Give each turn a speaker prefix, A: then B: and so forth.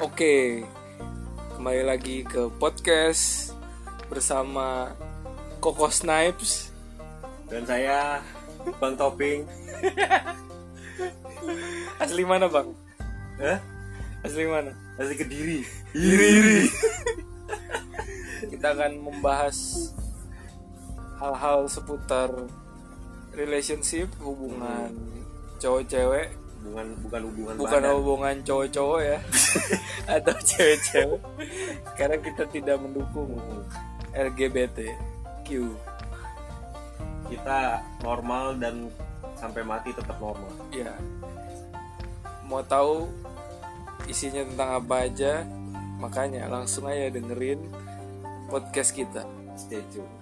A: Oke, kembali lagi ke podcast bersama Koko Snipes.
B: dan saya Bang Toping
A: Asli mana bang?
B: eh
A: Asli mana?
B: asli kediri
A: Iri iri. Kita akan membahas hal-hal seputar relationship, hubungan cowok-cewek,
B: bukan bukan hubungan
A: bukan
B: badan.
A: hubungan cowok-cowok ya, atau cewek-cewek. Karena kita tidak mendukung LGBTQ.
B: kita normal dan sampai mati tetap normal
A: Ya. Mau tahu isinya tentang apa aja? Makanya langsung aja dengerin podcast kita.
B: stay tune